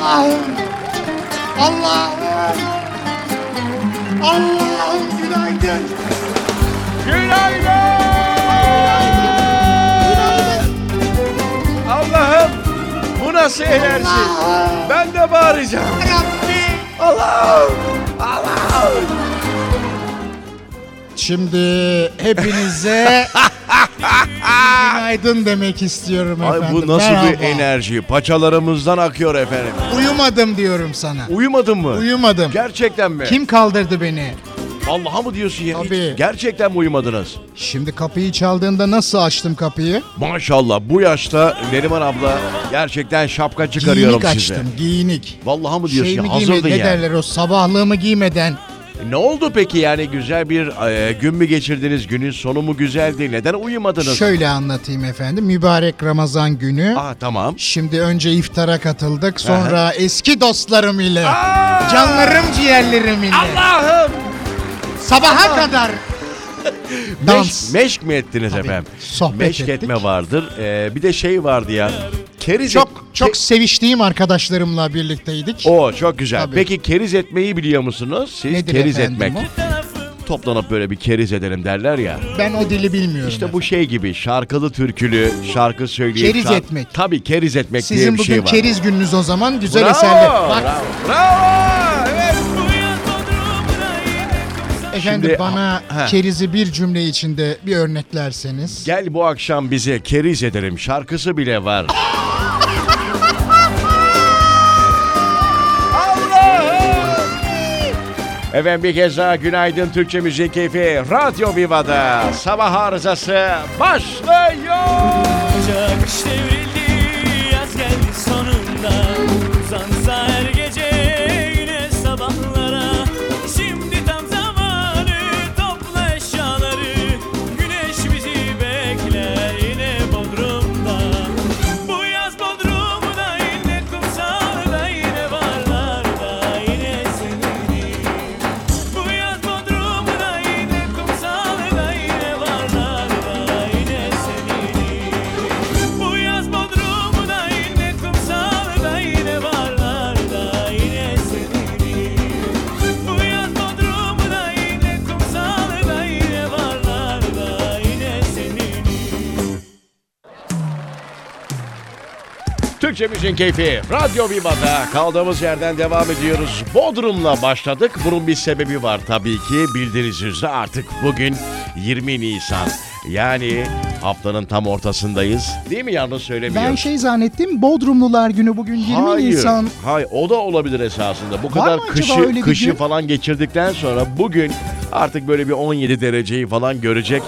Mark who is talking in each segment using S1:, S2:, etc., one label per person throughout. S1: Allah'ım. Allah'ım. Allah'ım günaydın. Günaydın.
S2: Allah'ım bu nasıl enerji?
S1: Allah'ım.
S2: Ben de bağıracağım.
S1: Rabbim.
S2: Allah'ım! Allah'ım!
S3: Şimdi hepinize günaydın demek istiyorum
S2: Ay
S3: efendim.
S2: bu nasıl bir
S3: Merhaba.
S2: enerji? Paçalarımızdan akıyor efendim.
S3: Uyumadım diyorum sana.
S2: Uyumadın mı?
S3: Uyumadım.
S2: Gerçekten mi?
S3: Kim kaldırdı beni?
S2: Allah'a mı diyorsun ya? Hiç-
S3: Tabii.
S2: Gerçekten mi uyumadınız?
S3: Şimdi kapıyı çaldığında nasıl açtım kapıyı?
S2: Maşallah bu yaşta Neriman abla gerçekten şapka çıkarıyorum
S3: giyinik
S2: size.
S3: açtım, giyinik.
S2: Vallahi mı diyorsun?
S3: Şeyimi
S2: ya? Hazırdın
S3: giymedi- ne
S2: yani. E,
S3: derler o sabahlığımı giymeden.
S2: Ne oldu peki yani güzel bir e, gün mü geçirdiniz? Günün sonu mu güzeldi? Neden uyumadınız?
S3: Şöyle anlatayım efendim. Mübarek Ramazan günü.
S2: Ah tamam.
S3: Şimdi önce iftara katıldık. Sonra eski dostlarım ile.
S2: Aa!
S3: Canlarım ciğerlerim ile.
S2: Ah. Allah'ım!
S3: Sabaha kadar. Dans.
S2: Meş, meşk mi ettiniz efendim?
S3: sohbet
S2: meşk
S3: ettik.
S2: etme vardır. Ee, bir de şey vardı ya. Keriz
S3: Çok
S2: et-
S3: çok
S2: Ke-
S3: seviştiğim arkadaşlarımla birlikteydik.
S2: Oo çok güzel.
S3: Tabii.
S2: Peki keriz etmeyi biliyor musunuz? Siz
S3: Nedir
S2: keriz
S3: efendim
S2: etmek. Toplanıp böyle bir keriz edelim derler ya.
S3: Ben o dili bilmiyorum.
S2: İşte bu şey gibi şarkılı türkülü, şarkı söyleyip...
S3: Keriz
S2: şark-
S3: etmek.
S2: Tabii keriz etmek diye
S3: Sizin
S2: bir
S3: bugün
S2: şey var.
S3: keriz gününüz o zaman güzel
S2: Bravo,
S3: eserler. Bak
S2: bravo, bravo, evet.
S3: efendim
S2: Şimdi-
S3: bana
S2: Ha.
S3: kerizi bir cümle içinde bir örneklerseniz.
S2: Gel bu akşam bize keriz edelim şarkısı bile var. Allah'ım! Efendim bir kez daha günaydın Türkçe Müzik Keyfi Radyo Viva'da sabah arızası başlıyor.
S4: Ocak iş devrildi, yaz geldi sonunda Uzansa her gece yine sabahlara Şimdi tam zamanı topla eşyaları Güneş bizi bekler yine Bodrum'da Bu yaz Bodrum'da yine kumsalda yine barlarda yine seninim bu yaz Bodrum'da yine kumsalda yine varlarda yine seninim Bu yaz Bodrum'da yine kumsalda yine varlarda yine seninim Bu yaz Bodrum'da yine kumsalda yine varlarda yine seninim
S2: Türkçe Müzik Keyfi Radyo Viva'da kaldığımız yerden devam ediyoruz. Bodrum'la başladık. Bunun bir sebebi var tabii ki. Bildiğiniz üzere artık bugün 20 Nisan. Yani haftanın tam ortasındayız. Değil mi yanlış söylemiyorum?
S3: Ben şey zannettim Bodrumlular günü bugün 20
S2: hayır,
S3: Nisan.
S2: Hayır, o da olabilir esasında. Bu
S3: mı
S2: kadar
S3: acaba öyle
S2: kışı
S3: bir
S2: kışı
S3: gün?
S2: falan geçirdikten sonra bugün artık böyle bir 17 dereceyi falan görecek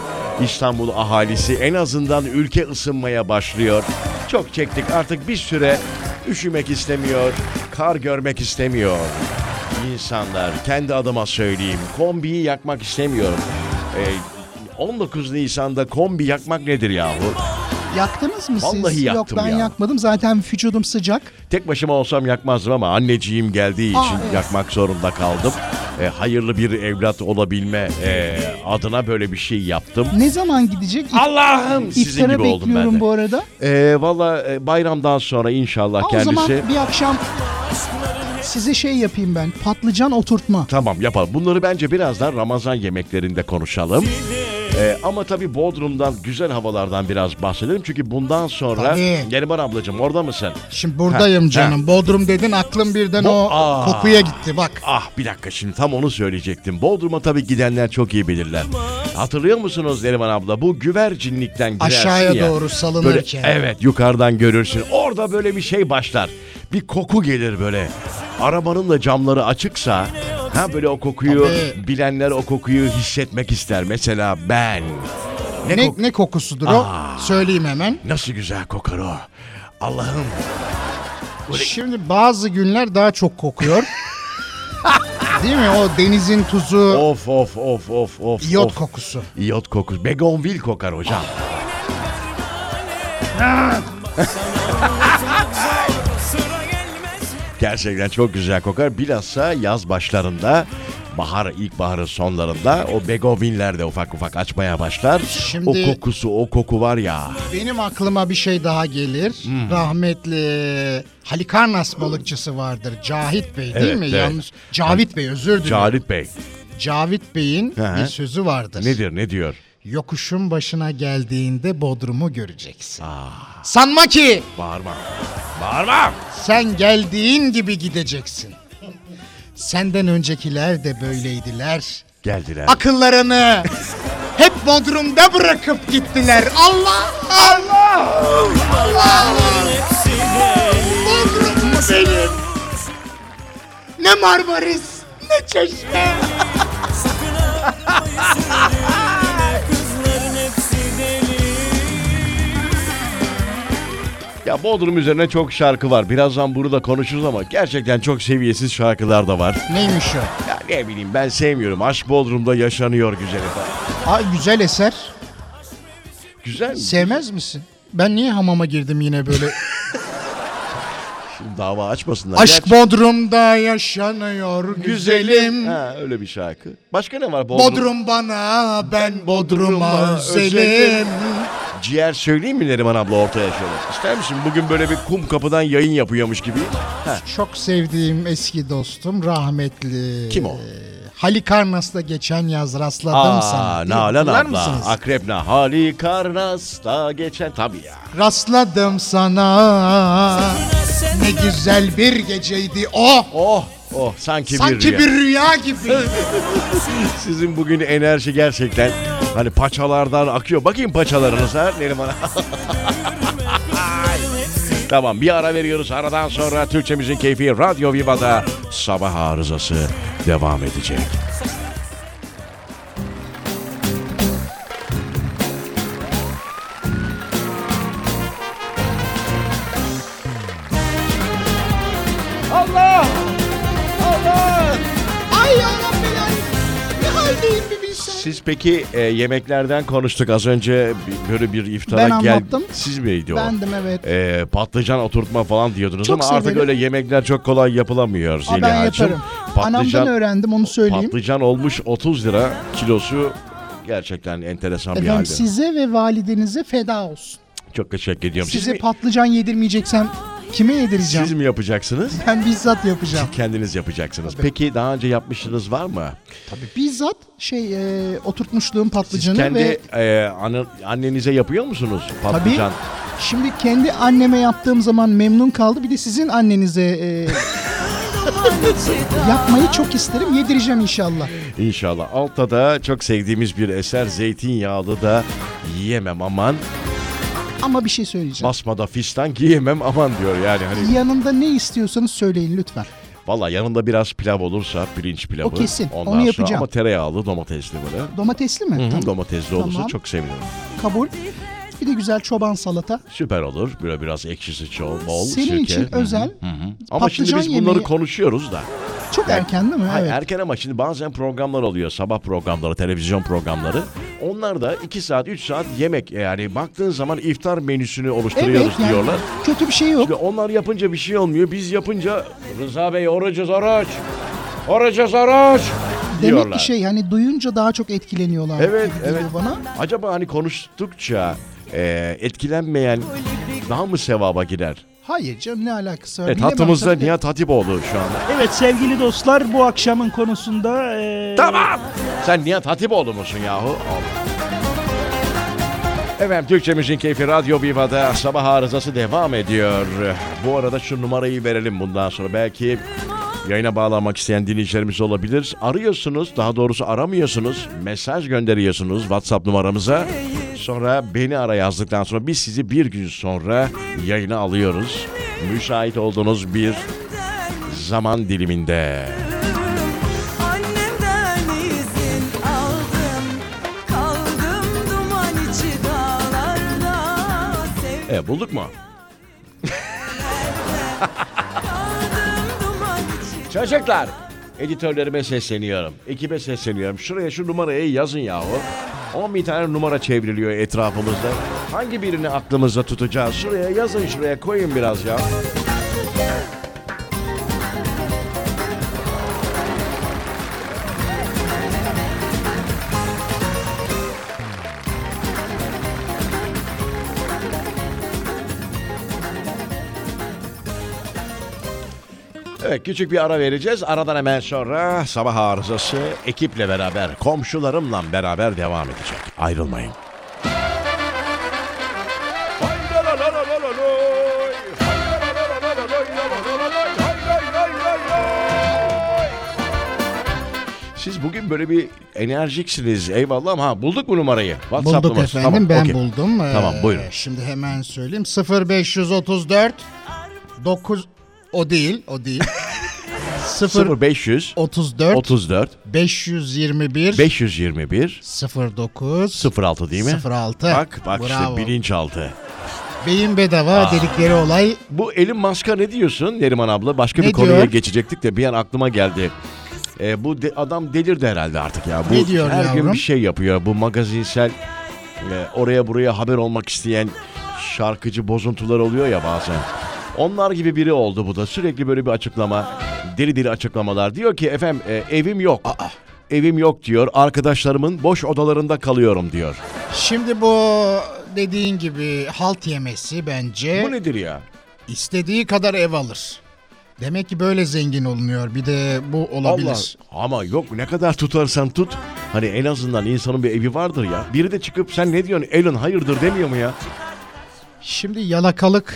S2: İstanbul ahalisi. En azından ülke ısınmaya başlıyor. Çok çektik artık bir süre üşümek istemiyor, kar görmek istemiyor. İnsanlar kendi adıma söyleyeyim kombiyi yakmak istemiyorum. Ee, 19 Nisan'da kombi yakmak nedir yahu?
S3: Yaktınız mı siz?
S2: Vallahi
S3: Yok
S2: yaktım
S3: ben
S2: ya.
S3: yakmadım zaten vücudum sıcak.
S2: Tek başıma olsam yakmazdım ama anneciğim geldiği için
S3: Aa, Ah, evet.
S2: yakmak zorunda kaldım. E, hayırlı bir evlat olabilme e, adına böyle bir şey yaptım.
S3: Ne zaman gidecek? İf-
S2: Allah'ım sizin
S3: İftara
S2: gibi oldum
S3: bekliyorum
S2: ben de.
S3: bu arada.
S2: E, Valla e, bayramdan sonra inşallah
S3: Aa,
S2: kendisi...
S3: O zaman bir akşam size şey yapayım ben. Patlıcan oturtma.
S2: Tamam yapalım. Bunları bence birazdan Ramazan yemeklerinde konuşalım. E, ama tabii Bodrum'dan, güzel havalardan biraz bahsedelim. Çünkü bundan sonra...
S3: Tabii.
S2: Neriman ablacığım orada mısın?
S3: Şimdi buradayım
S2: Ha,
S3: canım. Bodrum dedin aklım birden
S2: Bu-
S3: o
S2: Aa.
S3: kokuya gitti bak.
S2: Ah bir dakika şimdi tam onu söyleyecektim. Bodrum'a tabii gidenler çok iyi bilirler. Hatırlıyor musunuz Neriman abla? Bu güvercinlikten girersin
S3: Aşağıya
S2: ya.
S3: doğru salınırken.
S2: Böyle, evet yukarıdan görürsün. Orada böyle bir şey başlar. Bir koku gelir böyle. Arabanın da camları açıksa ha böyle o kokuyu
S3: Tabii.
S2: bilenler o kokuyu hissetmek ister. Mesela ben. Ne,
S3: Ne,
S2: kok-
S3: ne kokusudur
S2: Aa.
S3: o? Söyleyeyim hemen.
S2: Nasıl güzel kokar o. Allah'ım
S3: Şimdi bazı günler daha çok kokuyor. Değil mi? O denizin tuzu,
S2: of of of of of.
S3: iyot
S2: of.
S3: kokusu.
S2: İyot kokusu. Begonvil kokar hocam.
S4: Sıra gelmez
S2: Gerçekten çok güzel kokar. Bilhassa yaz başlarında bahar ilkbaharın sonlarında o begovinler de ufak ufak açmaya başlar.
S3: Şimdi-
S2: O kokusu o koku var ya.
S3: Benim aklıma bir şey daha gelir.
S2: Hmm.
S3: Rahmetli Halikarnas balıkçısı vardır. Cahit Bey değil
S2: Evet,
S3: mi?
S2: evet.
S3: Yanlış. Cavit Bey özür dilerim.
S2: Cavit Bey
S3: Cavit Bey'in
S2: Hı hı.
S3: bir sözü vardır.
S2: nedir ne diyor?
S3: Yokuşun başına geldiğinde Bodrum'u göreceksin. Sanma ki
S2: Bağırma. Bağırma.
S3: sen geldiğin gibi gideceksin. Senden öncekiler de böyleydiler.
S2: Geldiler.
S3: Akıllarını hep Bodrum'da bırakıp gittiler. Allah! Allah!
S4: Hepsi deli
S3: Bodrum mu benim? Ne Marmaris, ne Çeşme.
S4: kızların hepsi deli
S2: Ya Bodrum üzerine çok şarkı var. Birazdan bunu da konuşuruz ama gerçekten çok seviyesiz şarkılar da var.
S3: Neymiş o?
S2: Ya ne bileyim ben sevmiyorum. Aşk Bodrum'da yaşanıyor güzelim.
S3: Aa, güzel eser.
S2: Güzel mi?
S3: Sevmez misin? Ben niye hamama girdim yine böyle?
S2: Şimdi dava açmasınlar.
S3: Aşk Bodrum'da yaşanıyor güzelim.
S2: Ha, öyle bir şarkı. Başka ne var? Bodrum.
S3: Bodrum bana, ben Bodrum'a
S2: Bodrum'a
S3: özelim.
S2: özelim. Ciğer söyleyeyim mi Neriman abla ortaya şöyle? İster misin? Bugün böyle bir kum kapıdan yayın yapıyormuş gibi. Ha,
S3: Çok sevdiğim eski dostum rahmetli.
S2: kim o?
S3: Halikarnas'ta geçen yaz rastladım sana.
S2: Aa,
S3: Değil mi?
S2: Nalan
S3: Hatırlar
S2: abla.
S3: mısınız?
S2: Akrep na Hali Karnas'ta geçen. Tabii ya.
S3: Rastladım sana. Ne güzel bir geceydi o.
S2: Oh, oh sanki,
S3: Sanki
S2: bir rüya.
S3: bir rüya gibi.
S2: Sizin bugün enerji gerçekten hani paçalardan akıyor. Bakayım paçalarınız ha Neriman. tamam bir ara veriyoruz. Aradan sonra Türkçemizin keyfi Radyo Viva'da sabah arızası devam edecek. Allah! Allah!
S3: Ay Allah'ım belanı. Ne haldeyim bir bilsen.
S2: Siz peki e, yemeklerden konuştuk az önce bi- böyle bir iftara
S3: Ben
S2: gel.
S3: anlattım.
S2: Siz miydi o?
S3: Bendim evet.
S2: E, patlıcan oturtma falan diyordunuz
S3: Çok
S2: ama artık
S3: severim.
S2: öyle yemekler çok kolay yapılamıyor
S3: Aa,
S2: Zeliha'cığım.
S3: ben yaparım. Anamdan öğrendim onu söyleyeyim.
S2: Patlıcan olmuş 30 lira kilosu gerçekten enteresan bir
S3: Efendim
S2: halde.
S3: size ve validenize feda olsun.
S2: Çok teşekkür ediyorum.
S3: Size
S2: siz, mi,
S3: patlıcan yedirmeyeceksem kime yedireceğim?
S2: siz mi yapacaksınız?
S3: Ben bizzat yapacağım.
S2: Kendiniz yapacaksınız. Peki daha önce yapmışsınız var mı?
S3: Tabii bizzat şey e, oturtmuşluğum
S2: Siz
S3: patlıcanı
S2: kendi
S3: ve
S2: e, anne- annenize yapıyor musunuz
S3: tabii
S2: patlıcan?
S3: şimdi kendi anneme yaptığım zaman memnun kaldı. Bir de sizin annenize e, yapmayı çok isterim. Yedireceğim inşallah.
S2: İnşallah. Altta da çok sevdiğimiz bir eser Zeytinyağlı da yiyemem aman.
S3: Ama bir şey söyleyeceğim.
S2: Basmada fistan giyemem aman diyor yani. Hani
S3: Yanında ne istiyorsanız söyleyin lütfen.
S2: valla yanında biraz pilav olursa pirinç pilavı.
S3: O kesin.
S2: Ondan
S3: Onu
S2: sonra-
S3: yapacağım.
S2: ama tereyağlı domatesli böyle.
S3: Domatesli mi?
S2: Hı, Domatesli olursa
S3: Tamam.
S2: çok sevinirim.
S3: Kabul. Bir de güzel çoban salata.
S2: Süper olur. Böyle biraz ekşisi çok bol.
S3: Senin
S2: sirke.
S3: için
S2: Hı hı.
S3: özel
S2: Hı hı. Ama şimdi biz
S3: patlıcan
S2: bunları
S3: yemeği-
S2: konuşuyoruz da.
S3: Çok erken değil mi?
S2: Hayır,
S3: evet.
S2: erken ama şimdi bazen programlar oluyor. Sabah programları, televizyon programları. Onlar da 2 saat, 3 saat yemek yani baktığın zaman iftar menüsünü oluşturuyoruz
S3: evet yani
S2: diyorlar.
S3: kötü bir şey yok.
S2: Ve onlar yapınca bir şey olmuyor. Biz yapınca Rıza Bey orucuz oruç. Orucuz oruç.
S3: Demek
S2: diyorlar.
S3: ki şey hani duyunca daha çok etkileniyorlar.
S2: Evet,
S3: gibi geliyor
S2: evet.
S3: Bana.
S2: Acaba hani konuştukça e, etkilenmeyen daha mı sevaba girer?
S3: Hayır canım ne alakası var?
S2: Evet
S3: Bilemem
S2: hattımızda
S3: tabii de.
S2: Nihat Hatipoğlu şu anda.
S5: Evet sevgili dostlar bu akşamın konusunda e, eee,
S2: Tamam. Sen Nihat Hatipoğlu musun yahu? Allah. Efendim Türkçemizin keyfi Radyo Viva'da sabah arızası devam ediyor. Bu arada şu numarayı verelim bundan sonra. Belki yayına bağlanmak isteyen dinleyicilerimiz olabilir. Arıyorsunuz, daha doğrusu aramıyorsunuz. Mesaj gönderiyorsunuz WhatsApp numaramıza. Sonra beni ara yazdıktan sonra biz sizi bir gün sonra yayına alıyoruz. Müsait olduğunuz bir zaman diliminde.
S6: Annemden izin aldım, kaldım duman içi dağlarda. Sevdim
S2: E bulduk mu?
S6: duman içi.
S2: Çocuklar. Editörlerime sesleniyorum. Ekibe sesleniyorum. Şuraya şu numarayı yazın yahu. 10 bin tane numara çevriliyor etrafımızda. Hangi birini aklımızda tutacağız? Şuraya yazın şuraya koyun biraz ya. Evet küçük bir ara vereceğiz. Aradan hemen sonra sabah arızası ekiple beraber, komşularımla beraber devam edecek. Ayrılmayın. Siz bugün böyle bir enerjiksiniz. Eyvallah ama ha, bulduk bu numarayı. WhatsApp
S3: Bulduk
S2: numarası.
S3: efendim ben
S2: okey.
S3: buldum. Ee,
S2: Tamam, buyurun.
S3: Şimdi hemen söyleyeyim 0534 9 o değil o değil. 0
S2: 0500
S3: 34
S2: 34
S3: 521
S2: 521
S3: 09
S2: 06 değil mi?
S3: 06.
S2: Bak bak
S3: Bravo.
S2: işte bilinçaltı.
S3: Beyin bedava dedikleri olay
S2: Bu Elon Musk'a ne diyorsun Neriman abla? Başka
S3: Ne
S2: bir konuya
S3: diyor?
S2: geçecektik de bir an aklıma geldi. Ee, bu de- adam delirdi herhalde artık ya. Bu
S3: Ne diyor
S2: her gün
S3: yavrum?
S2: bir şey yapıyor. Bu magazinsel e, oraya buraya haber olmak isteyen şarkıcı bozuntular oluyor ya bazen. Onlar gibi biri oldu bu da. Sürekli böyle bir açıklama. Deli deli açıklamalar. Diyor ki efendim e, evim yok. Evim yok diyor. Arkadaşlarımın boş odalarında kalıyorum diyor.
S3: Şimdi bu dediğin gibi halt yemesi bence
S2: Bu nedir ya?
S3: istediği kadar ev alır. Demek ki böyle zengin olunuyor. Bir de bu olabilir.
S2: Allah. Ama yok ne kadar tutarsan tut. Hani en azından insanın bir evi vardır ya. Biri de çıkıp sen ne diyorsun Elon hayırdır demiyor mu ya?
S3: Şimdi yalakalıktan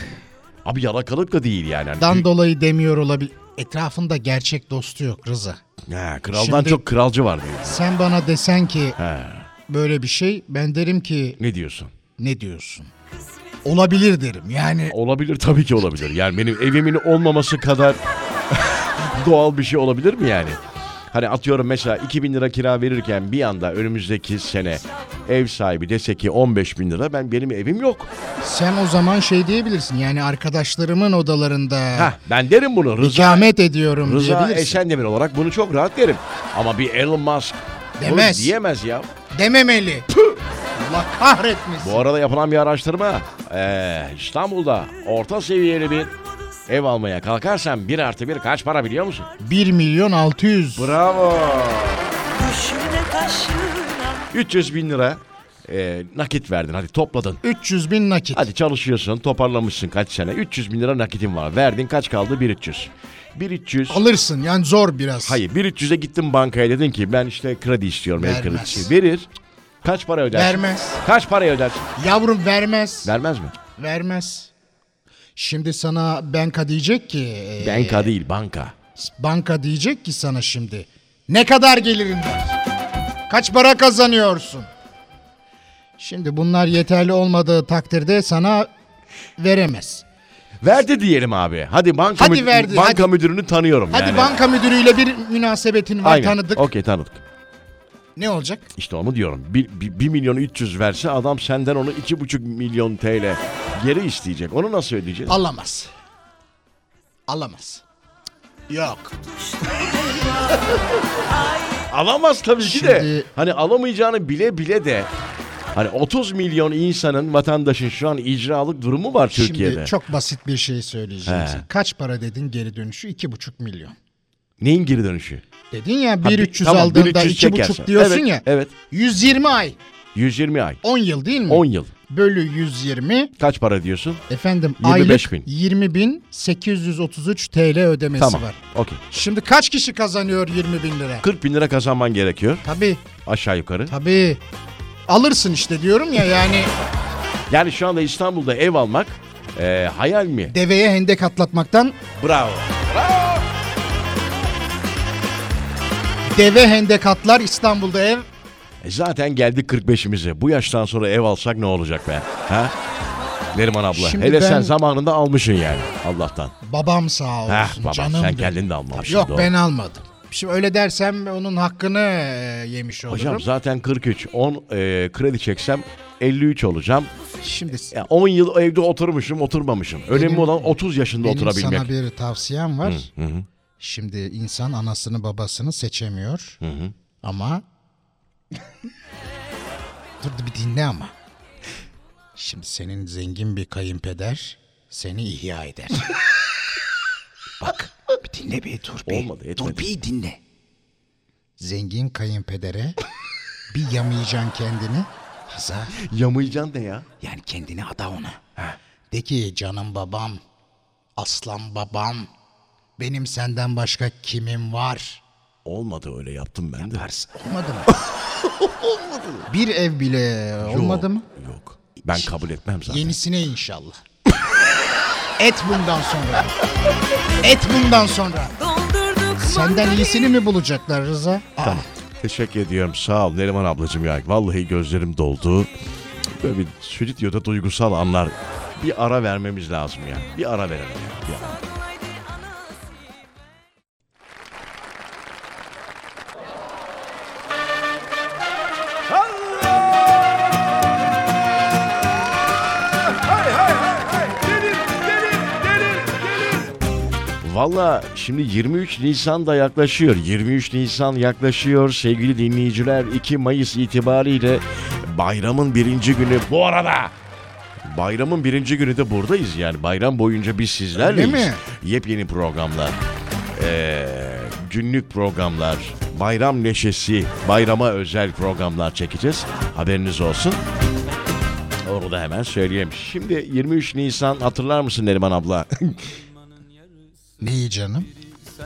S2: Abi yalakalık da değil yani. Hani büyük-
S3: dolayı demiyor olabilir. Etrafında gerçek dostu yok Rıza.
S2: He, kraldan
S3: Şimdi-
S2: çok kralcı var diyor.
S3: Sen bana desen ki
S2: He,
S3: böyle bir şey ben derim ki
S2: ne diyorsun?
S3: ne diyorsun? Olabilir derim. Yani
S2: Olabilir tabii ki olabilir. Yani benim evimin olmaması kadar doğal bir şey olabilir mi yani? Hani atıyorum mesela 2000 lira kira verirken bir anda önümüzdeki sene ev sahibi dese ki 15 bin lira ben benim evim yok.
S3: sen o zaman şey diyebilirsin. Yani arkadaşlarımın odalarında
S2: Heh, ben derim bunu Rıza
S3: ikamet ediyorum
S2: Rıza
S3: diyebilirsin.
S2: Eşendemir olarak bunu çok rahat derim. Ama bir Elon Musk bunu
S3: Demez.
S2: diyemez ya.
S3: Dememeli. Allah kahretmesin.
S2: Bu arada yapılan bir araştırma eee, İstanbul'da orta seviyeli bir ev almaya kalkarsan bir artı bir kaç para biliyor musun?
S3: 1 milyon 600.
S2: Bravo.
S6: Düşüne taşına
S2: 300 bin lira eee, nakit verdin hadi topladın.
S3: 300 bin nakit.
S2: Hadi çalışıyorsun toparlamışsın kaç sene 300 bin lira nakitin var verdin kaç kaldı 1300. 1300
S3: Alırsın yani zor biraz.
S2: hayır 1300'e gittin bankaya dedin ki ben işte kredi istiyorum ev
S3: Vermez.
S2: kredisi verir. Kaç para ödersin?
S3: Vermez.
S2: Kaç parayı ödersin?
S3: Yavrum vermez.
S2: Vermez mi?
S3: vermez. Şimdi sana banka diyecek ki. e,
S2: Banka değil banka.
S3: Banka diyecek ki sana şimdi. Ne kadar gelirin var? Kaç para kazanıyorsun? Şimdi bunlar yeterli olmadığı takdirde sana veremez.
S2: Verdi diyelim abi. Hadi banka,
S3: Hadi
S2: müdür-
S3: verdi,
S2: banka
S3: hadi.
S2: müdürünü tanıyorum
S3: Hadi
S2: yani.
S3: banka müdürüyle bir münasebetin var
S2: Aynen.
S3: tanıdık.
S2: Okey tanıdık.
S3: Ne olacak?
S2: İşte onu diyorum. 1 milyon 300 verse adam senden onu 2,5 milyon TL geri isteyecek. Onu nasıl ödeyeceğiz?
S3: Alamaz. Alamaz. Yok.
S2: Alamaz tabii ki de.
S3: Şimdi-
S2: Hani alamayacağını bile bile de. Hani 30 milyon insanın, vatandaşın şu an icralık durumu var Türkiye'de.
S3: Şimdi çok basit bir şey söyleyeceğim.
S2: He.
S3: size. Kaç para dedin geri dönüşü? 2,5 milyon.
S2: Neyin geri dönüşü?
S3: Dedin ya
S2: Ha, bir-
S3: 1.300
S2: tamam,
S3: aldığında
S2: 1300 çekersen.
S3: 2,5 diyorsun
S2: Evet,
S3: ya.
S2: evet.
S3: 120 ay.
S2: 120 ay.
S3: 10 yıl değil mi?
S2: 10 yıl.
S3: Bölü 120
S2: Kaç para diyorsun?
S3: efendim
S2: 25
S3: aylık
S2: bin.
S3: 20.833 TL ödemesi
S2: tamam.
S3: var.
S2: Okey.
S3: Şimdi kaç kişi kazanıyor 20 bin lira?
S2: 40 bin lira kazanman gerekiyor
S3: Tabii
S2: aşağı yukarı.
S3: tabii. Alırsın işte diyorum ya yani
S2: Yani şu anda İstanbul'da ev almak e, hayal mi?
S3: deveye hendek atlatmaktan
S2: Bravo.
S3: deve hendek atlar İstanbul'da ev
S2: E zaten geldik 45'imize. Bu yaştan sonra ev alsak ne olacak be? Ha? Neriman abla.
S3: Şimdi
S2: Hele
S3: ben-
S2: sen zamanında almışsın yani Allah'tan.
S3: babam sağ olsun
S2: Heh baba
S3: canım.
S2: sen
S3: benim.
S2: kendin de almamışsın.
S3: Yok
S2: doğru.
S3: ben almadım. Şimdi öyle dersem onun hakkını e, yemiş olurum.
S2: Hocam zaten 43. 10 e, kredi çeksem 53 olacağım.
S3: Şimdi
S2: Ya 10 yıl evde oturmuşum oturmamışım. Önemli
S3: Benim-
S2: olan 30 yaşında
S3: benim
S2: oturabilmek.
S3: sana bir tavsiyem var. Şimdi insan anasını babasını seçemiyor. Ama dur bir dinle ama. Şimdi senin zengin bir kayınpeder seni ihya eder. Bak bir dinle bir dur bir.
S2: Olmadı, yetmedi.
S3: Dur bir dinle. Zengin kayınpedere bir yamayacaksın kendini. Haza
S2: Yamayacaksın da ya.
S3: yani kendini ada ona. De ki canım babam, aslan babam, Benim senden başka kimim var?
S2: Olmadı öyle yaptım ben de.
S3: Yaparsın. Olmadı mı? olmadı. Bir ev bile olmadı mı?
S2: Yok. Ben kabul etmem zaten.
S3: Yenisine inşallah. Et bundan sonra. Et bundan sonra.
S6: Doldurduk
S3: Senden
S6: mandalini.
S3: iyisini mi bulacaklar Rıza? Aa,
S2: Teşekkür ediyorum. Sağ ol Neriman ablacığım ya. Vallahi gözlerim doldu. Böyle bir stüdyoda duygusal anlar. Bir ara vermemiz lazım ya. Bir ara verelim ya. Bir ara. Valla şimdi 23 Nisan da yaklaşıyor. 23 Nisan yaklaşıyor sevgili dinleyiciler. 2 Mayıs itibariyle bayramın birinci günü bu arada. Bayramın birinci günü de buradayız yani. Bayram boyunca biz sizlerleyiz.
S3: Öyle mi?
S2: Yepyeni programlar. ee, günlük programlar. Bayram neşesi. Bayrama özel programlar çekeceğiz. Haberiniz olsun. Onu da hemen söyleyeyim. Şimdi 23 Nisan hatırlar mısın Neriman abla?
S3: neyi canım?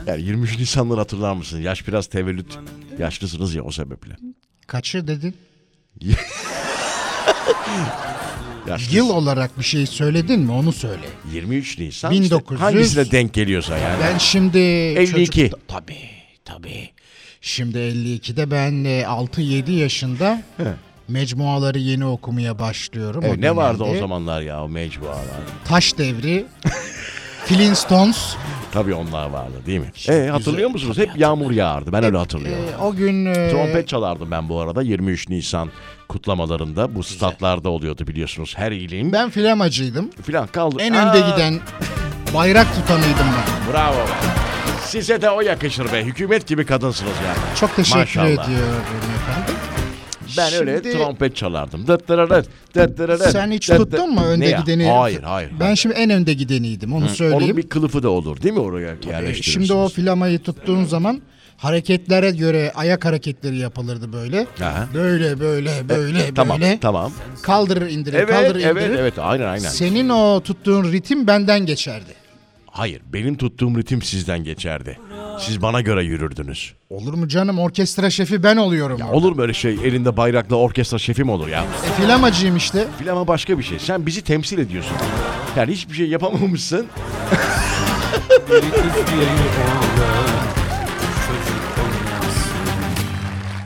S2: Yani 23 Nisan'ları hatırlar mısın? Yaş biraz tevellüt. Yaşlısınız ya o sebeple.
S3: Kaçı dedin?
S2: Yaşlı.
S3: Yıl olarak bir şey söyledin mi onu söyle.
S2: 23 Nisan.
S3: 1900
S2: Işte hangisine denk geliyorsa yani.
S3: Ben şimdi...
S2: 52.
S3: Çocuk... Tabii tabii. Şimdi 52'de ben e, 6-7 yaşında mecmuaları yeni okumaya başlıyorum.
S2: Evet,
S3: O
S2: E, ne vardı o
S3: dönemde
S2: zamanlar ya o mecbualar?
S3: Taş devri, Flintstones.
S2: Tabii onlar vardı değil mi? E, hatırlıyor musunuz? Hep yağmur yağardı. Ben öyle hatırlıyorum.
S3: E, o gün e,
S2: Trompet çalardım ben bu arada 23 Nisan kutlamalarında. Bu statlarda oluyordu biliyorsunuz her ilin.
S3: ben flamacıydım.
S2: Filan kaldı.
S3: En
S2: Aa,
S3: önde giden bayrak tutanıydım ben.
S2: Bravo be. Size de o yakışır be. Hükümet gibi kadınsınız yani.
S3: Çok teşekkür
S2: Maşallah.
S3: ediyorum efendim.
S2: Ben öyle
S3: Şimdi-
S2: trompet çalardım. Dıt dırırır, dıt dırırır,
S3: Sen hiç
S2: dıt dı-
S3: tuttun mu önde
S2: Ne ya?
S3: gideni?
S2: Hayır hayır.
S3: Ben şimdi en önde gideniydim onu söyleyeyim.
S2: Onun bir kılıfı da olur değil mi oraya
S3: E,
S2: yerleştirirsiniz?
S3: Şimdi o flamayı tuttuğun zaman hareketlere göre ayak hareketleri yapılırdı böyle.
S2: Aha. E,
S3: Böyle böyle böyle böyle.
S2: Tamam tamam.
S3: Kaldırır indirir
S2: Evet
S3: kaldırır indirir.
S2: evet evet aynen aynen.
S3: Senin o tuttuğun ritim benden geçerdi.
S2: Hayır benim tuttuğum ritim sizden geçerdi. Siz bana göre yürürdünüz.
S3: Olur mu canım orkestra şefi ben oluyorum. Ya,
S2: Olur mu öyle şey elinde bayrakla orkestra şefim olur ya.
S3: Flamacıyım işte.
S2: Filama başka bir şey. Sen bizi temsil ediyorsun. Yani hiçbir şey yapamamışsın.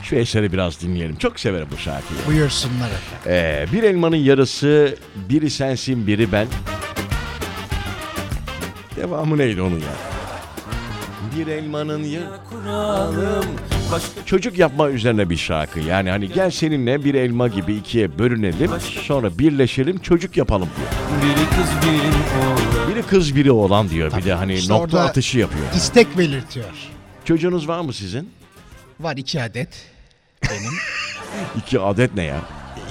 S2: Şu eseri biraz dinleyelim. Çok severim bu şarkıyı.
S3: Buyursunlar efendim.
S2: Ee, bir elmanın yarısı biri sensin biri ben. Devamı neydi onun ya? Bir elmanın ya... Çocuk yapma üzerine bir şarkı. Yani hani gel seninle bir elma gibi ikiye bölünelim. Sonra birleşelim çocuk yapalım diyor.
S4: Biri kız biri oğlan
S2: Biri kız biri oğlan diyor. Bir de hani
S3: İşte
S2: nokta
S3: orada
S2: atışı yapıyor.
S3: İstek belirtiyor.
S2: Çocuğunuz var mı sizin?
S3: Var iki adet.
S2: İki adet ne ya?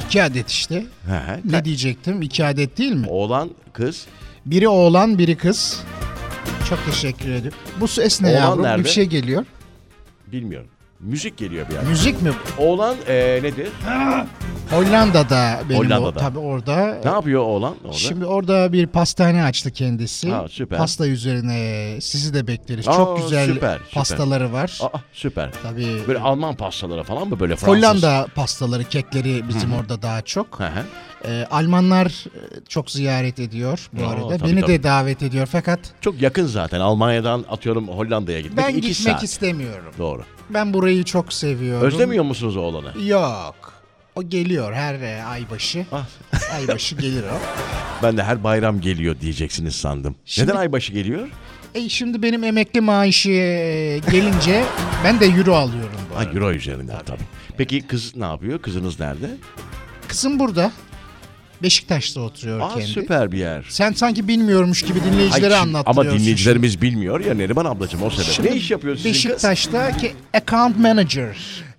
S3: İki adet işte.
S2: He he.
S3: Ne diyecektim? İki adet değil mi?
S2: Oğlan kız.
S3: Biri oğlan biri kız. Çok teşekkür ederim. Bu ses ne
S2: Oğlan
S3: yavrum?
S2: nerede?
S3: Bir şey geliyor.
S2: Bilmiyorum. Müzik geliyor bir yerden.
S3: Müzik mi bu?
S2: Oğlan ee, nedir?
S3: Hollanda'da benim o
S2: Hollanda'da.
S3: tabii orada.
S2: Ne yapıyor oğlan? orada?
S3: Şimdi orada bir pastane açtı kendisi.
S2: Ha, süper.
S3: Pasta üzerine sizi de bekleriz.
S2: Aa,
S3: Çok güzel
S2: süper, süper.
S3: pastaları var.
S2: Aa süper.
S3: Tabii
S2: Böyle Alman pastaları falan mı böyle Fransız?
S3: Hollanda pastaları, kekleri bizim orada daha çok.
S2: Hı hı.
S3: Ee, Almanlar e, çok ziyaret ediyor bu
S2: Aa,
S3: arada.
S2: tabii,
S3: Beni
S2: tabii.
S3: de davet ediyor fakat
S2: Çok yakın zaten Almanya'dan atıyorum Hollanda'ya gitmek.
S3: ben
S2: iki
S3: gitmek
S2: saat.
S3: istemiyorum.
S2: Doğru.
S3: Ben burayı çok seviyorum.
S2: Özlemiyor musunuz oğlanı?
S3: Yok. O geliyor her e, aybaşı.
S2: Ah.
S3: aybaşı gelir o.
S2: Ben de her bayram geliyor diyeceksiniz sandım.
S3: Şimdi-
S2: Neden aybaşı geliyor?
S3: E şimdi benim emekli maaşı e, gelince ben de euro alıyorum bu
S2: Ha,
S3: arada.
S2: Euro üzerinden tabii. Peki kız ne yapıyor? Kızınız nerede?
S3: Kızım burada. Beşiktaş'ta oturuyor
S2: Aa
S3: kendi.
S2: süper bir yer.
S3: Sen sanki bilmiyormuş gibi
S2: Ay,
S3: dinleyicilere
S2: şimdi-
S3: anlattırıyorsun.
S2: ama dinleyicilerimiz bilmiyor ya Neriman ablacığım o sebeple.
S3: Şimdi
S2: Ne iş yapıyor sizin
S3: Beşiktaş'ta ki account manager.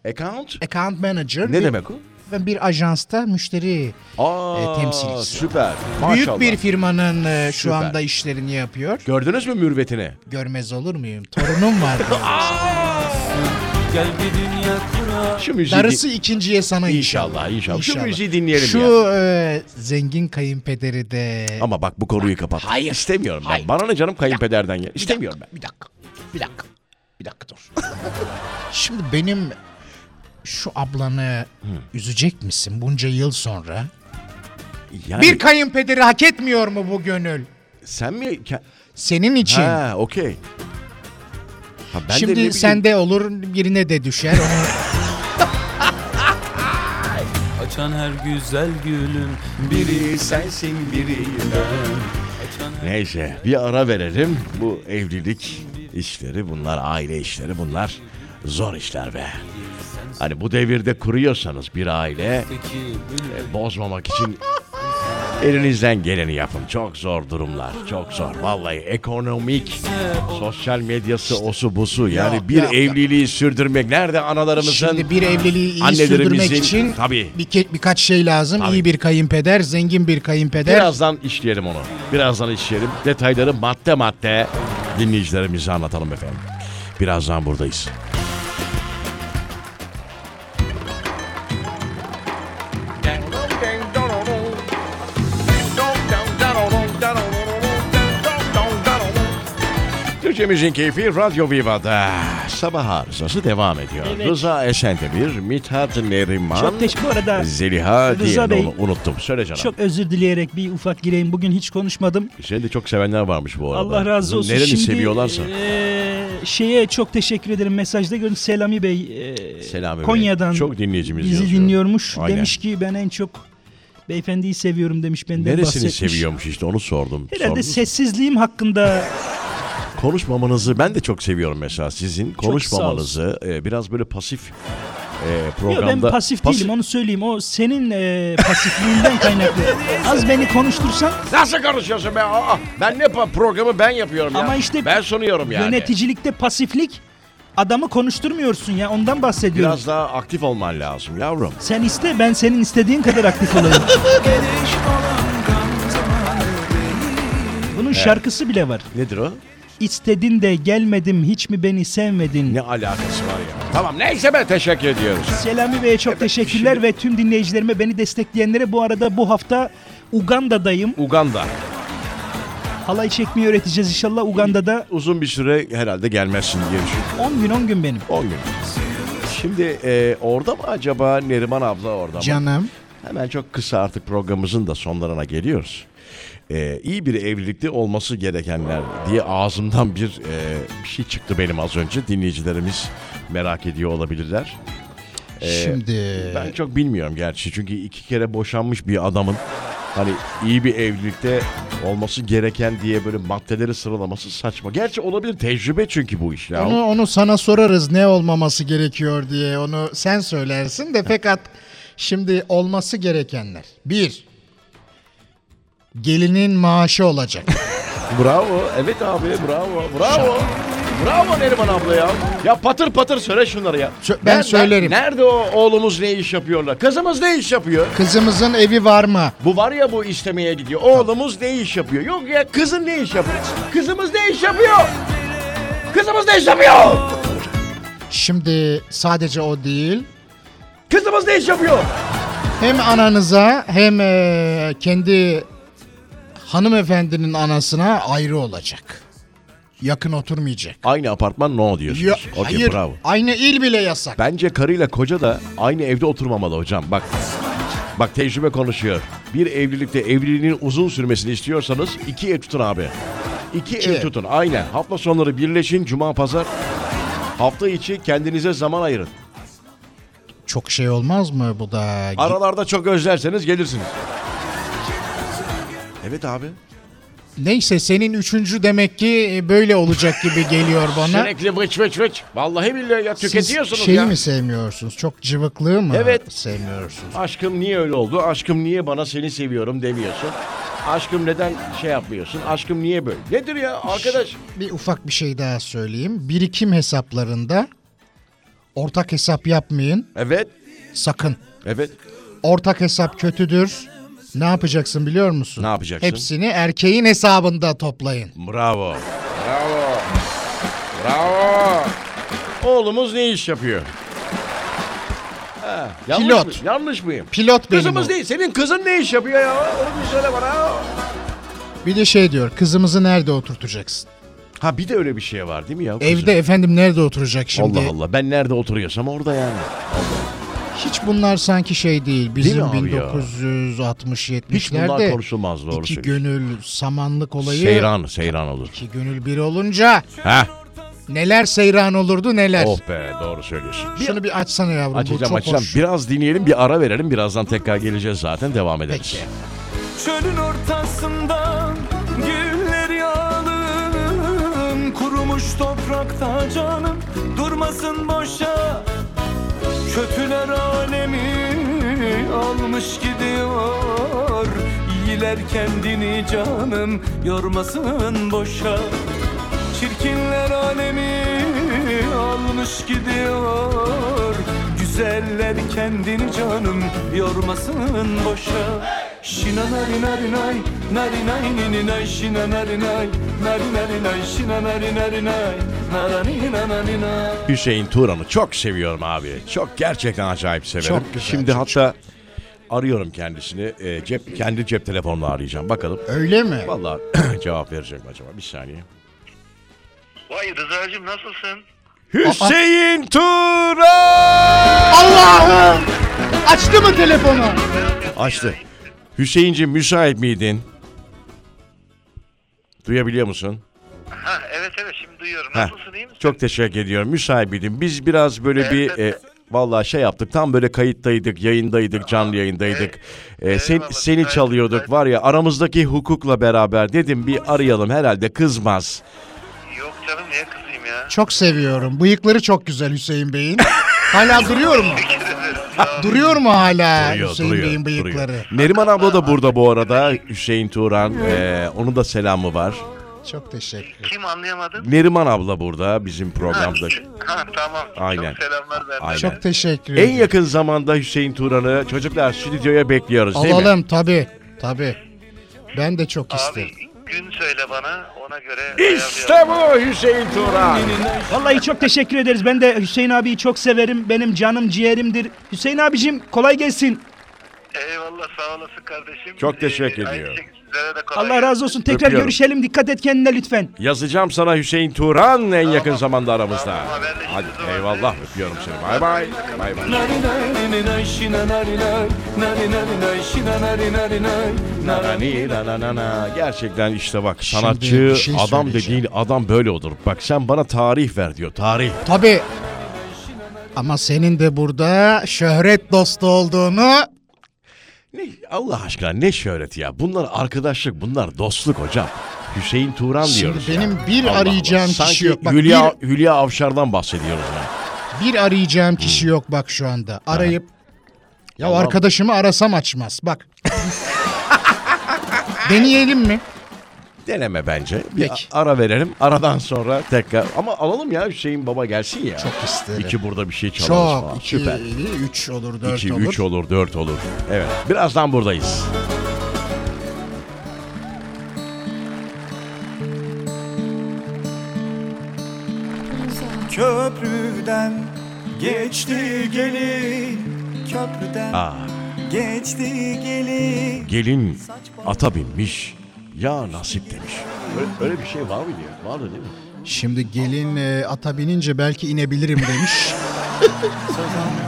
S2: kız? Account?
S3: Account manager.
S2: Ne
S3: bir,
S2: demek o?
S3: Ben bir ajansta müşteri.
S2: Aa
S3: E, temsilcisi.
S2: süper. Maşallah.
S3: Büyük bir firmanın e, şu
S2: Süper.
S3: anda işlerini yapıyor.
S2: Gördünüz mü mürvetini?
S3: Görmez olur muyum? Torunum var. benim.
S4: Gel bir dünya kuralım
S2: Şu müziği
S3: Darısı ikinciye sana
S2: İnşallah, inşallah. Şu müziği dinleyelim
S3: Şu e, zengin kayınpederi de...
S2: Ama bak bu konuyu kapat.
S7: Hayır.
S2: İstemiyorum ben.
S7: Hayır.
S2: Bana ne canım kayınpederden ya. İstemiyorum ben.
S7: Bir dakika. Bir dakika. Bir dakika dur.
S3: Şimdi benim şu ablanı üzecek misin bunca yıl sonra?
S2: Yani
S3: Bir kayınpederi hak etmiyor mu bu gönül?
S2: sen mi? Ke-
S3: Senin için.
S2: Ha, okey. Ha, ben de ne
S3: Şimdi
S2: bileyim.
S3: sende olur birine de düşer. Onu
S4: Açan her güzel gülün biri sensin biri ben Açan
S2: Neyse bir ara verelim. Bu evlilik işleri bunlar, aile işleri bunlar. Zor işler be. Hani bu devirde kuruyorsanız bir aile e,
S4: herteki bülbül
S2: bozmamak için elinizden geleni yapın. Çok zor durumlar. Çok zor. Vallahi ekonomik, sosyal medyası osu busu. Yani
S3: Ya,
S2: bir
S3: ya, ya.
S2: evliliği sürdürmek. Nerede analarımızın?
S3: Şimdi bir evliliği iyi
S2: annelerimizin-
S3: sürdürmek için
S2: Tabii.
S3: bir ke- birkaç şey lazım.
S2: Tabii.
S3: İyi bir kayınpeder, zengin bir kayınpeder.
S2: Birazdan işleyelim onu. Birazdan işleyelim. Detayları madde madde dinleyicilerimize anlatalım efendim. Birazdan buradayız. Türkçemizin keyfi Radyo Viva'da sabah arızası devam ediyor. Rıza Esendemir, Mithat Neriman,
S5: Çok teşekkür bu arada.
S2: Zeliha
S5: Rıza
S2: diye
S5: Bey.
S2: onu unuttum. Söyle canım.
S5: Çok özür dileyerek bir ufak gireyim. Bugün hiç konuşmadım.
S2: Seni de çok sevenler varmış bu arada.
S5: Allah razı olsun.
S2: Nereni
S5: Şimdi, e,
S2: seviyorlarsa.
S5: eee, şeye çok teşekkür ederim. Mesajda gördüm Selami Bey eee,
S2: Selami Bey.
S5: Konya'dan
S2: Çok dinleyicimiz
S5: bizi
S2: yazıyor.
S5: dinliyormuş.
S2: Aynen.
S5: Demiş ki ben en çok beyefendiyi seviyorum demiş benden
S2: Neresini
S5: bahsetmiş.
S2: seviyormuş işte onu sordum.
S5: Herhalde
S2: Sordum.
S5: sessizliğim hakkında
S2: Konuşmamanızı ben de çok seviyorum mesela sizin konuşmamanızı e, biraz böyle pasif e,
S5: Yok
S2: programda.
S5: ben pasif, değilim onu söyleyeyim. O senin eee, pasifliğinden kaynaklı. Az beni konuştursan
S2: Nasıl konuşuyorsun be? Aa, ben ne pa- programı ben yapıyorum ya.
S5: Ama işte
S2: ben sunuyorum yani.
S5: yöneticilikte pasiflik adamı konuşturmuyorsun ya ondan bahsediyorum.
S2: Biraz daha aktif olman lazım yavrum.
S5: Sen iste ben senin istediğin kadar aktif olayım. Bunun şarkısı bile var.
S2: Nedir o?
S5: İstedin de gelmedim hiç mi beni sevmedin?
S2: Ne alakası var ya? Tamam neyse be teşekkür ediyoruz.
S5: Selami Bey'e çok teşekkürler ve tüm dinleyicilerime beni destekleyenlere bu arada bu hafta Uganda'dayım.
S2: Uganda.
S5: Halay çekmeyi öğreteceğiz inşallah Uganda'da.
S2: Uzun bir süre herhalde gelmezsin diye düşünüyorum.
S5: 10 gün 10 gün benim.
S2: 10 gün. Şimdi e, orada mı acaba Neriman abla orada mı?
S3: Canım.
S2: Hemen çok kısa artık programımızın da sonlarına geliyoruz. E, iyi bir evlilikte olması gerekenler diye ağzımdan bir e, bir şey çıktı benim az önce. Dinleyicilerimiz merak ediyor olabilirler. Ee,
S3: Şimdi
S2: Ben çok bilmiyorum gerçi çünkü iki kere boşanmış bir adamın hani iyi bir evlilikte olması gereken diye böyle maddeleri sıralaması saçma. Gerçi olabilir tecrübe çünkü bu iş ya.
S3: onu, onu sana sorarız ne olmaması gerekiyor diye. Onu sen söylersin de fakat şimdi olması gerekenler. Bir, gelinin maaşı olacak.
S2: Bravo. Evet abi bravo. Bravo. Bravo Neriman abla ya. Ya patır patır söyle şunları ya.
S3: Sö- ben
S2: Nerede-
S3: söylerim.
S2: Nerede o oğlumuz ne iş yapıyorlar? Kızımız ne iş yapıyor?
S3: Kızımızın evi var mı?
S2: Bu var ya bu istemeye gidiyor. Oğlumuz ne iş yapıyor? Yok ya kızın ne iş yapıyor? Kızımız ne iş yapıyor? Kızımız ne iş yapıyor?
S3: Şimdi sadece o değil.
S2: Kızımız ne iş yapıyor?
S3: Hem ananıza hem e, kendi hanımefendinin anasına ayrı olacak. Yakın oturmayacak.
S2: Aynı apartman no
S3: Ya,
S2: diyorsunuz. Okey,
S3: hayır,
S2: bravo.
S3: aynı il bile yasak.
S2: Bence karıyla koca da aynı evde oturmamalı hocam. Bak bak tecrübe konuşuyor. Bir evlilikte evliliğin uzun sürmesini istiyorsanız iki ev tutun abi. İki, ev
S3: ev.
S2: tutun aynen. Hafta sonları birleşin cuma pazar. Hafta içi kendinize zaman ayırın.
S3: Çok şey olmaz mı bu da?
S2: Aralarda çok özlerseniz gelirsiniz. Evet abi.
S3: Neyse senin üçüncü demek ki e, böyle olacak gibi geliyor bana.
S2: Sürekli vıç vıç vıç. Vallahi billahi ya
S3: Siz
S2: tüketiyorsunuz
S3: şeyi
S2: ya.
S3: mi sevmiyorsunuz? Çok cıvıklığı mı
S2: Evet.
S3: sevmiyorsunuz?
S2: Aşkım niye öyle oldu? Aşkım niye bana seni seviyorum demiyorsun? Aşkım neden şey yapmıyorsun? Aşkım niye böyle? Nedir ya arkadaş?
S3: Bir ufak bir şey daha söyleyeyim. Birikim hesaplarında ortak hesap yapmayın
S2: Evet.
S3: sakın.
S2: Evet.
S3: Ortak hesap kötüdür. Ne yapacaksın biliyor musun?
S2: Ne yapacaksın?
S3: Hepsini erkeğin hesabında toplayın.
S2: Bravo. Bravo. Bravo. Oğlumuz ne iş yapıyor? Ha, yanlış
S3: Pilot.
S2: mıyım? Yanlış mıyım?
S3: Pilot benim
S2: Kızımız
S3: o.
S2: değil. Senin kızın ne iş yapıyor ya? Onu bir söyle bana.
S3: Bir de şey diyor kızımızı nerede oturtacaksın?
S2: Ha bir de öyle bir şey var değil mi ya? kızım?
S3: Evde efendim nerede oturacak şimdi?
S2: Allah Allah. Ben nerede oturuyorsam orada yani.
S3: Hiç bunlar sanki şey değil. Bizim
S2: abi ya?
S3: 1960
S2: Hiç bunlar
S3: 70'lerde
S2: konuşulmaz doğru
S3: iki
S2: söylüyorsun.
S3: gönül samanlık olayı
S2: Seyran, seyran olur.
S3: iki gönül bir olunca
S2: Ha,
S3: neler seyran olurdu neler.
S2: oh be doğru söylüyorsun. Bir-
S3: Şunu bir açsana yavrum bu
S2: Açacağım
S3: çok
S2: açacağım.
S3: hoş.
S2: Biraz dinleyelim bir ara verelim. Birazdan tekrar geleceğiz zaten devam ederiz.
S3: Peki.
S4: Çölün ortasında güller yağlım Kurumuş toprakta canım durmasın boşa Kötüler alemi almış gidiyor İyiler kendini canım yormasın boşa Çirkinler alemi almış gidiyor Güzeller kendini canım yormasın boşa Şina nari nari nay Nari nay nini nay Şina nari nay Nari nari nay Şina nari nari nay Narani nanani nay
S2: Hüseyin Turan'ı çok seviyorum abi. Çok gerçekten acayip severim.
S3: Çok güzel,
S2: Şimdi hatta arıyorum kendisini. E, cep kendi cep telefonla arayacağım. Bakalım.
S3: Öyle mi?
S2: Vallahi cevap verecek mi acaba? Bir saniye.
S8: Vay Rıza'cığım nasılsın?
S2: Hüseyin Turan!
S3: Allah'ım! Açtı mı telefonu?
S2: Açtı. Hüseyinciğim müsait miydin? Duyabiliyor musun?
S8: Ha evet evet şimdi duyuyorum.
S2: Heh.
S8: Nasılsın iyi misin?
S2: Çok teşekkür ediyorum. Müsaitim. Biz biraz böyle bir e, vallahi şey yaptık. Tam böyle kayıttaydık, yayındaydık, canlı yayındaydık. E, sen,
S8: Eyvallah,
S2: seni
S8: müsaitim,
S2: çalıyorduk
S8: müsaitim.
S2: var ya aramızdaki hukukla beraber dedim bir arayalım herhalde kızmaz.
S8: Yok canım niye kızayım ya?
S3: Çok seviyorum. Bıyıkları çok güzel Hüseyin Bey'in. Hala duruyor mu?
S8: Teşekkür ederim. Sağ ol.
S3: Duruyor mu hala
S2: Duruyor,
S3: Hüseyin
S2: duruyor,
S3: Bey'in
S2: duruyor.
S3: bıyıkları?
S2: Neriman abla da burada bu arada. Hüseyin Turan. E, onun da selamı var.
S3: Çok teşekkür.
S8: Kim anlayamadım?
S2: Neriman abla burada bizim programda.
S8: Ha tamam.
S2: Aynen.
S8: Çok selamlar ben.
S2: Aynen.
S3: Çok teşekkür
S2: En
S3: ederim.
S2: yakın zamanda Hüseyin Turan'ı çocuklar stüdyoya bekliyoruz değil mi?
S3: Alalım tabii. Tabii. Ben de çok isterim.
S8: Abi gün söyle bana ona göre.
S2: İşte bu Hüseyin Turan.
S5: Vallahi çok teşekkür ederiz. Ben de Hüseyin abiyi çok severim. Benim canım ciğerimdir. Hüseyin abicim kolay gelsin.
S8: ayarlayalım. Eyvallah sağ olasın kardeşim. Ee,
S2: Çok teşekkür
S8: aynı
S2: ediyorum.
S8: şekilde sizlere de kolay
S5: Allah
S8: gelsin.
S5: razı olsun. Tekrar
S2: Öpüyorum.
S5: görüşelim. Dikkat et kendine lütfen.
S2: Yazacağım sana Hüseyin Turan en yakın zamanda aramızda.
S8: Tamam, haberleşiriz
S2: Hadi
S8: o zaman.
S2: eyvallah öpüyorum seni. Bay bay. Bay bay.
S4: Nari nari nini nay Şina nari nay Nari nari nay Şina nari nari nay
S2: Nani,
S4: Narani
S2: na, na, na, na. Gerçekten işte bak
S3: Şimdi
S2: sanatçı
S3: bir şey
S2: adam
S3: söyleyeceğim.
S2: dediğin adam böyle olur. Bak sen bana tarih ver diyor. Tarih.
S3: Tabii. Ama senin de burada şöhret dostu olduğunu
S2: Ne, Allah aşkına ne şöhreti ya. Bunlar arkadaşlık, bunlar dostluk hocam. Hüseyin Turan
S3: Şimdi
S2: diyoruz.
S3: benim
S2: ya.
S3: bir arayacağım kişi
S2: Sanki
S3: yok. Bak
S2: Hülya, Hülya Avşar'dan bahsediyoruz. ya.
S3: bir arayacağım kişi yok bak şu anda. Arayıp ya
S2: Tamam.
S3: arkadaşımı arasam açmaz bak. Deneyelim mi?
S2: Deneme bence. Bir
S3: Peki.
S2: a- ara verelim. Aradan sonra tekrar. Ama alalım ya Hüseyin baba gelsin ya.
S3: Çok isterim.
S2: İki burada bir şey çalarız
S3: Çok.
S2: falan.
S3: iki,
S2: Süper.
S3: üç olur, dört
S2: 2,
S3: olur.
S2: 3 olur, 4 olur. Evet. Birazdan buradayız.
S4: Köprüden geçti gelin Köprüden
S2: Aa,
S4: geçti gelin
S2: gelin ata binmiş. Ya nasip demiş. Öyle, öyle bir şey var mı diyor. Vardı değil mi?
S3: Şimdi gelin e, ata binince belki inebilirim demiş.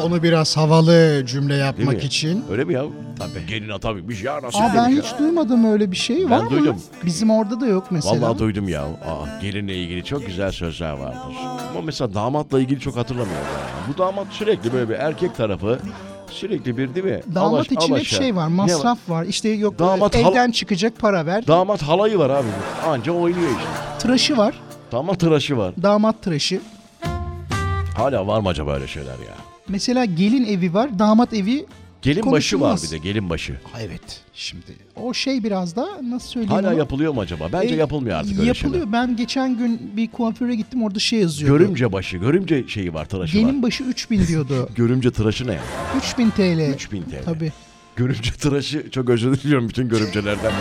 S3: Onu biraz havalı cümle
S2: Değil
S3: yapmak
S2: mi?
S3: için.
S2: Öyle mi ya? Tabii. Gelin ata binmiş. Ya nasip
S3: Aa ben
S2: demiş.
S3: hiç duymadım öyle bir şey var mı?
S2: duydum.
S3: Bizim orada da yok mesela.
S2: Vallahi duydum ya. Aa, gelinle ilgili çok güzel sözler vardır. Ama mesela damatla ilgili çok hatırlamıyorum. ya. Bu damat sürekli böyle bir erkek tarafı sürekli bir değil mi? Alaş-
S3: Damat için hep
S2: alaşa.
S3: şey var,
S2: Ne
S3: masraf var. İşte yok
S2: Damat
S3: e,
S2: hal-
S3: evden çıkacak para ver.
S2: Damat halayı var abi. Anca oynuyor işte.
S3: tıraşı var,
S2: Damat tıraşı var.
S3: damat tıraşı.
S2: Hala var mı acaba öyle şeyler ya?
S3: Mesela gelin evi var, damat evi.
S2: Gelin başı var
S3: Konuşulmaz.
S2: bir de gelin başı.
S3: Ha, Evet. Şimdi o şey biraz da nasıl söyleyeyim?
S2: Hala
S3: onu?
S2: yapılıyor mu acaba? Bence
S3: E,
S2: yapılmıyor artık öyle
S3: Yapılıyor. Ben geçen gün bir kuaföre gittim orada şey
S2: şeyler.
S3: yazıyordu.
S2: Görümce başı, görümce şeyi var tıraşı
S3: Gelin
S2: var.
S3: başı 3000 diyordu.
S2: Görümce tıraşı ne ya?
S3: 3000 TL.
S2: 3000 TL.
S3: Tabii.
S2: Görümce tıraşı çok özür diliyorum bütün görümcelerden.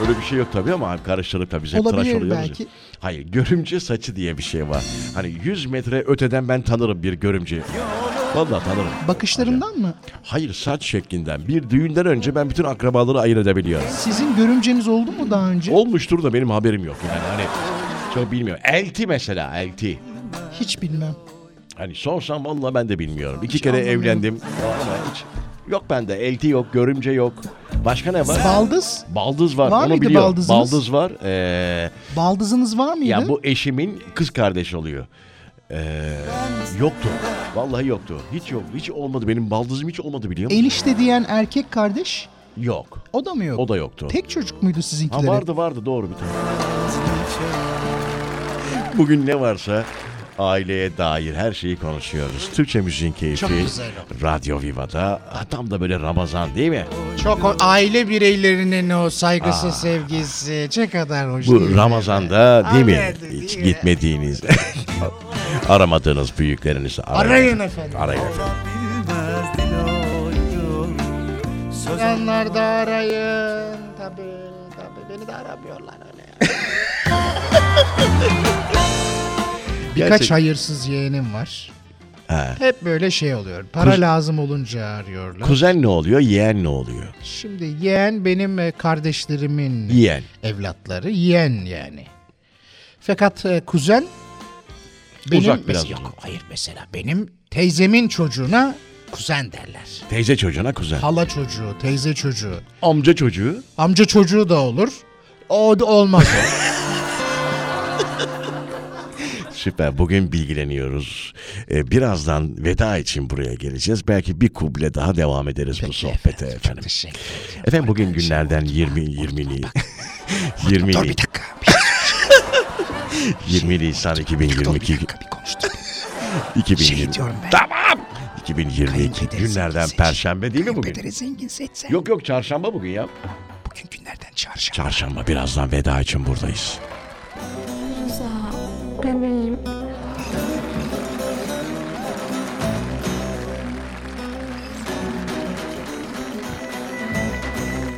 S2: Öyle bir şey yok tabii ama abi karıştırdık tabii. Biz hep tıraş
S3: Olabilir
S2: oluyoruz ya.
S3: belki.
S2: Hayır görümce saçı diye bir şey var. Hani 100 metre öteden ben tanırım bir görümce. Vallahi tanırım.
S3: Bakışlarından mı?
S2: Hayır saç şeklinden. Bir düğünden önce ben bütün akrabaları ayırt edebiliyorum.
S3: Sizin görümceniz oldu mu daha önce?
S2: Olmuştur da benim haberim yok yani hani çok bilmiyorum. Elti mesela elti.
S3: Hiç bilmem.
S2: Hani sorsam vallahi ben de bilmiyorum. İki kere evlendim ama hiç yok bende elti yok görümce yok. Başka ne var?
S3: Baldız?
S2: Baldız var,
S3: Var
S2: onu
S3: mıydı
S2: biliyorum.
S3: baldızınız?
S2: Baldız var. Ee,
S3: Baldızınız var mıydı?
S2: ya bu eşimin kız kardeşi oluyor. Ee, yoktu. Vallahi yoktu. Hiç yok. Hiç olmadı. Benim baldızım hiç olmadı biliyor musun?
S3: Enişte diyen erkek kardeş
S2: Yok.
S3: o da mı yok?
S2: O da yoktu.
S3: Tek çocuk muydu
S2: Ha
S3: sizinkilerin?
S2: vardı vardı doğru bir tane. Bugün ne varsa aileye dair her şeyi konuşuyoruz. Türkçe müziğin keyfi.
S3: Çok güzel
S2: Radyo Viva'da. Ha, Tam da böyle Ramazan değil mi?
S3: Çok o- aile bireylerinin o saygısı, sevgisi ne kadar hoş. değil
S2: Bu
S3: mi?
S2: Ramazan'da değil mi?
S3: Aynen,
S2: Hiç
S3: değil mi?
S2: gitmediğiniz, aramadığınız büyüklerinizi arayın.
S3: Arayın efendim.
S2: Arayın efendim.
S3: Yanlar da arayın. Tabii tabii beni de aramıyorlar öyle. Birkaç
S2: Gerçek-
S3: hayırsız yeğenim var. Hep böyle şey oluyor. Para lazım olunca arıyorlar.
S2: Kuzen ne oluyor, yeğen ne oluyor?
S3: Şimdi yeğen benim e, kardeşlerimin
S2: Yeğen.
S3: evlatları. Yeğen yani. Fakat e, kuzen benim
S2: Uzak biraz.
S3: yok hayır mesela benim teyzemin çocuğuna kuzen derler.
S2: Teyze çocuğuna kuzen.
S3: Hala çocuğu, teyze çocuğu.
S2: Amca çocuğu.
S3: Amca çocuğu da olur. O da olmaz. o.
S2: Süper. Bugün bilgileniyoruz. Ee, birazdan veda için buraya geleceğiz. Belki bir kuble daha devam ederiz bu sohbete efendim.
S3: Teşekkür ederim.
S2: Efendim bugün günlerden 20 20'li 20
S3: Dur bir dakika. Bir, şey
S2: 20 Nisan
S3: dur bir
S2: 2022
S3: dakika bir konuştum.
S2: 2020
S3: Şey diyorum ben.
S2: 2022
S3: Kayınpederi
S2: günlerden
S3: zengin.
S2: perşembe değil mi bugün?
S3: Kayınpederi zengin seçsen.
S2: Yok yok çarşamba bugün ya.
S3: Bugün günlerden çarşamba.
S2: Çarşamba birazdan veda için buradayız.
S9: Rıza, bebeğim.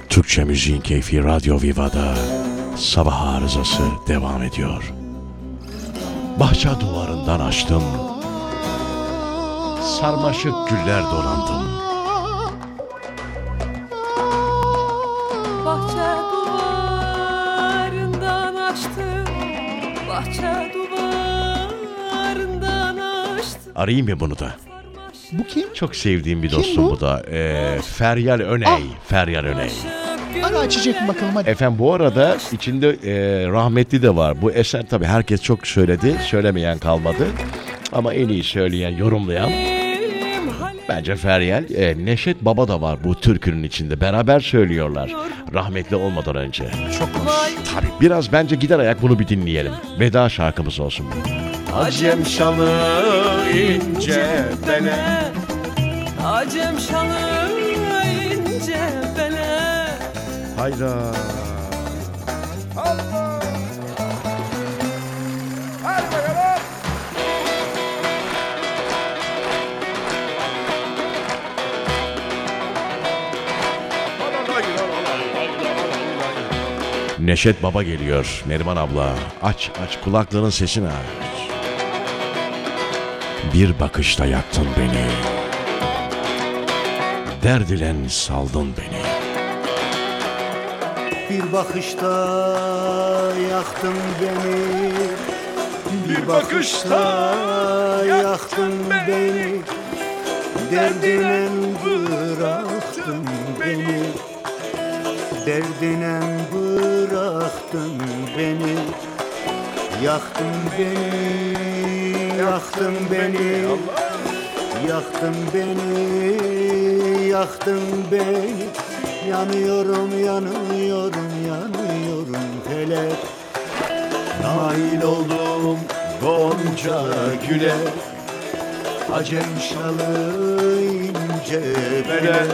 S2: Türkçe Müziğin Keyfi Radyo Viva'da sabah arızası devam ediyor. Bahçe duvarından açtım. Sarmaşık güller dolandım.
S9: Bahçe duvarından açtım. Bahçe duvarından açtım.
S2: Arayayım mı bunu da?
S3: Bu kim?
S2: Çok sevdiğim bir dostum bu?
S3: bu?
S2: da. Ee, Feryal Öney. Feryal Öney.
S3: Ara açacak bakalım hadi.
S2: Efendim bu arada içinde e, rahmetli de var. Bu eser tabii herkes çok söyledi. Söylemeyen kalmadı. Ama en iyi söyleyen, yorumlayan bence Feryal. E, Neşet Baba da var bu türkünün içinde. Beraber söylüyorlar. Rahmetli olmadan önce. Çok hoş. Tabii biraz bence gider ayak bunu bir dinleyelim. Veda şarkımız olsun bu.
S4: Acem şalı ince bele
S9: Acem şalı ince bele.
S2: Hayda. Neşet Baba geliyor. Neriman abla. Aç aç kulaklarının sesini aç. Bir bakışta yaktın beni. Derdilen saldın beni.
S1: Bir bakışta yaktın beni Bir bakışta yaktın beni Derdine bıraktın beni Derdine bıraktın beni Yaktın beni, yaktın beni Yaktın beni, yaktın beni Yanıyorum, yanıyorum, yanıyorum felek Nail oldum gonca güle Acem şalı ince bele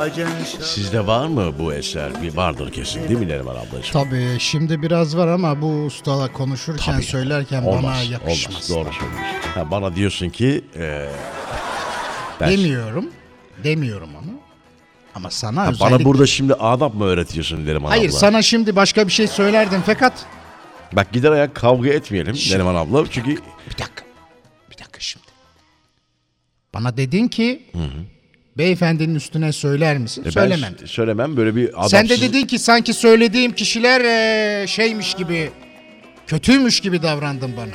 S1: Acem şalı
S2: Sizde var mı bu eser? Bir vardır kesin değil mi Neriman ablacığım?
S3: Tabii şimdi biraz var ama bu ustala konuşurken
S2: Tabii.
S3: söylerken bana
S2: Olmaz,
S3: yakışmaz.
S2: olmaz. Doğru söylüyorsun. Ha, bana diyorsun ki... E, ben-
S3: Demiyorum. Demiyorum ama. Ama sana
S2: Ha,
S3: özellikle...
S2: bana burada şimdi adap mı öğretiyorsun Neriman
S3: Hayır
S2: abla?
S3: sana şimdi başka bir şey söylerdim fakat...
S2: Bak gider ayak kavga etmeyelim Neriman abla. Çünkü
S7: Bir dakika. Bir dakika şimdi.
S3: Bana dedin ki beyefendinin üstüne söyler misin?
S2: E ben
S3: Söylemem.
S2: s- söylemem böyle bir adamsız.
S3: Sen de dedin ki sanki söylediğim kişiler eee, şeymiş gibi kötüymüş gibi davrandın bana.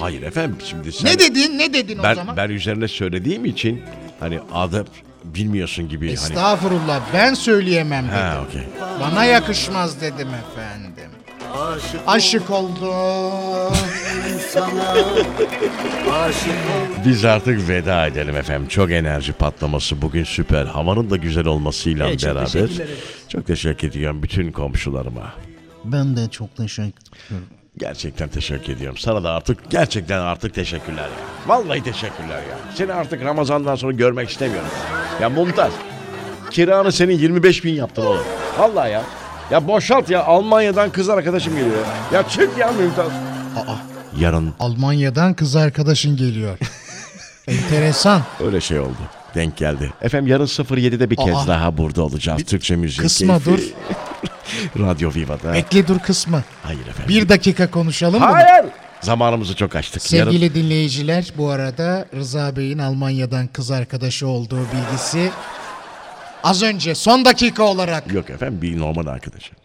S2: Hayır efendim şimdi sen...
S3: Ne dedin? Ne dedin o
S2: ben,
S3: zaman?
S2: ben üzerine söylediğim için hani adı bilmiyorsun gibi. Hani...
S3: Estağfurullah ben söyleyemem dedim.
S2: Ha okey.
S3: Bana yakışmaz dedim efendim.
S1: Aşık
S3: Aşık oldum.
S1: sana aşık oldum.
S2: Biz artık veda edelim efendim. Çok enerji patlaması bugün süper. Havanın da güzel olmasıyla
S5: Evet, çok
S2: beraber.
S5: teşekkür ederiz.
S2: Çok teşekkür ediyorum bütün komşularıma.
S3: ben de çok teşekkür
S2: Gerçekten teşekkür ediyorum. Sana da artık gerçekten artık teşekkürler ya. Vallahi teşekkürler ya. Seni artık Ramazan'dan sonra görmek istemiyorum. Ya Mumtaz. Kiranı senin 25 bin yaptın oğlum. Vallahi ya. Ya boşalt ya. Almanya'dan kız arkadaşım geliyor. ya. Ya çık ya Mumtaz. Yarın
S3: Almanya'dan kız arkadaşın geliyor. Enteresan.
S2: öyle şey oldu. Denk geldi. Efendim yarın 07'de bir kez
S3: Aa.
S2: daha burada olacağız. Türkçe müzik.
S3: Kısma
S2: keyfi.
S3: dur.
S2: Radyo Viva'da.
S3: Bekle dur kısmı.
S2: Hayır efendim.
S3: Bir dakika konuşalım bunu.
S2: Hayır. Zamanımızı çok açtık. Yarın-
S3: Sevgili dinleyiciler bu arada Rıza Bey'in Almanya'dan kız arkadaşı olduğu bilgisi az önce son dakika olarak
S2: Yok efendim bir normal arkadaşım.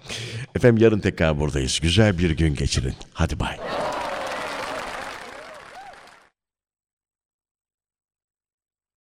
S2: Efendim yarın tekrar buradayız. Güzel bir gün geçirin. Hadi bay.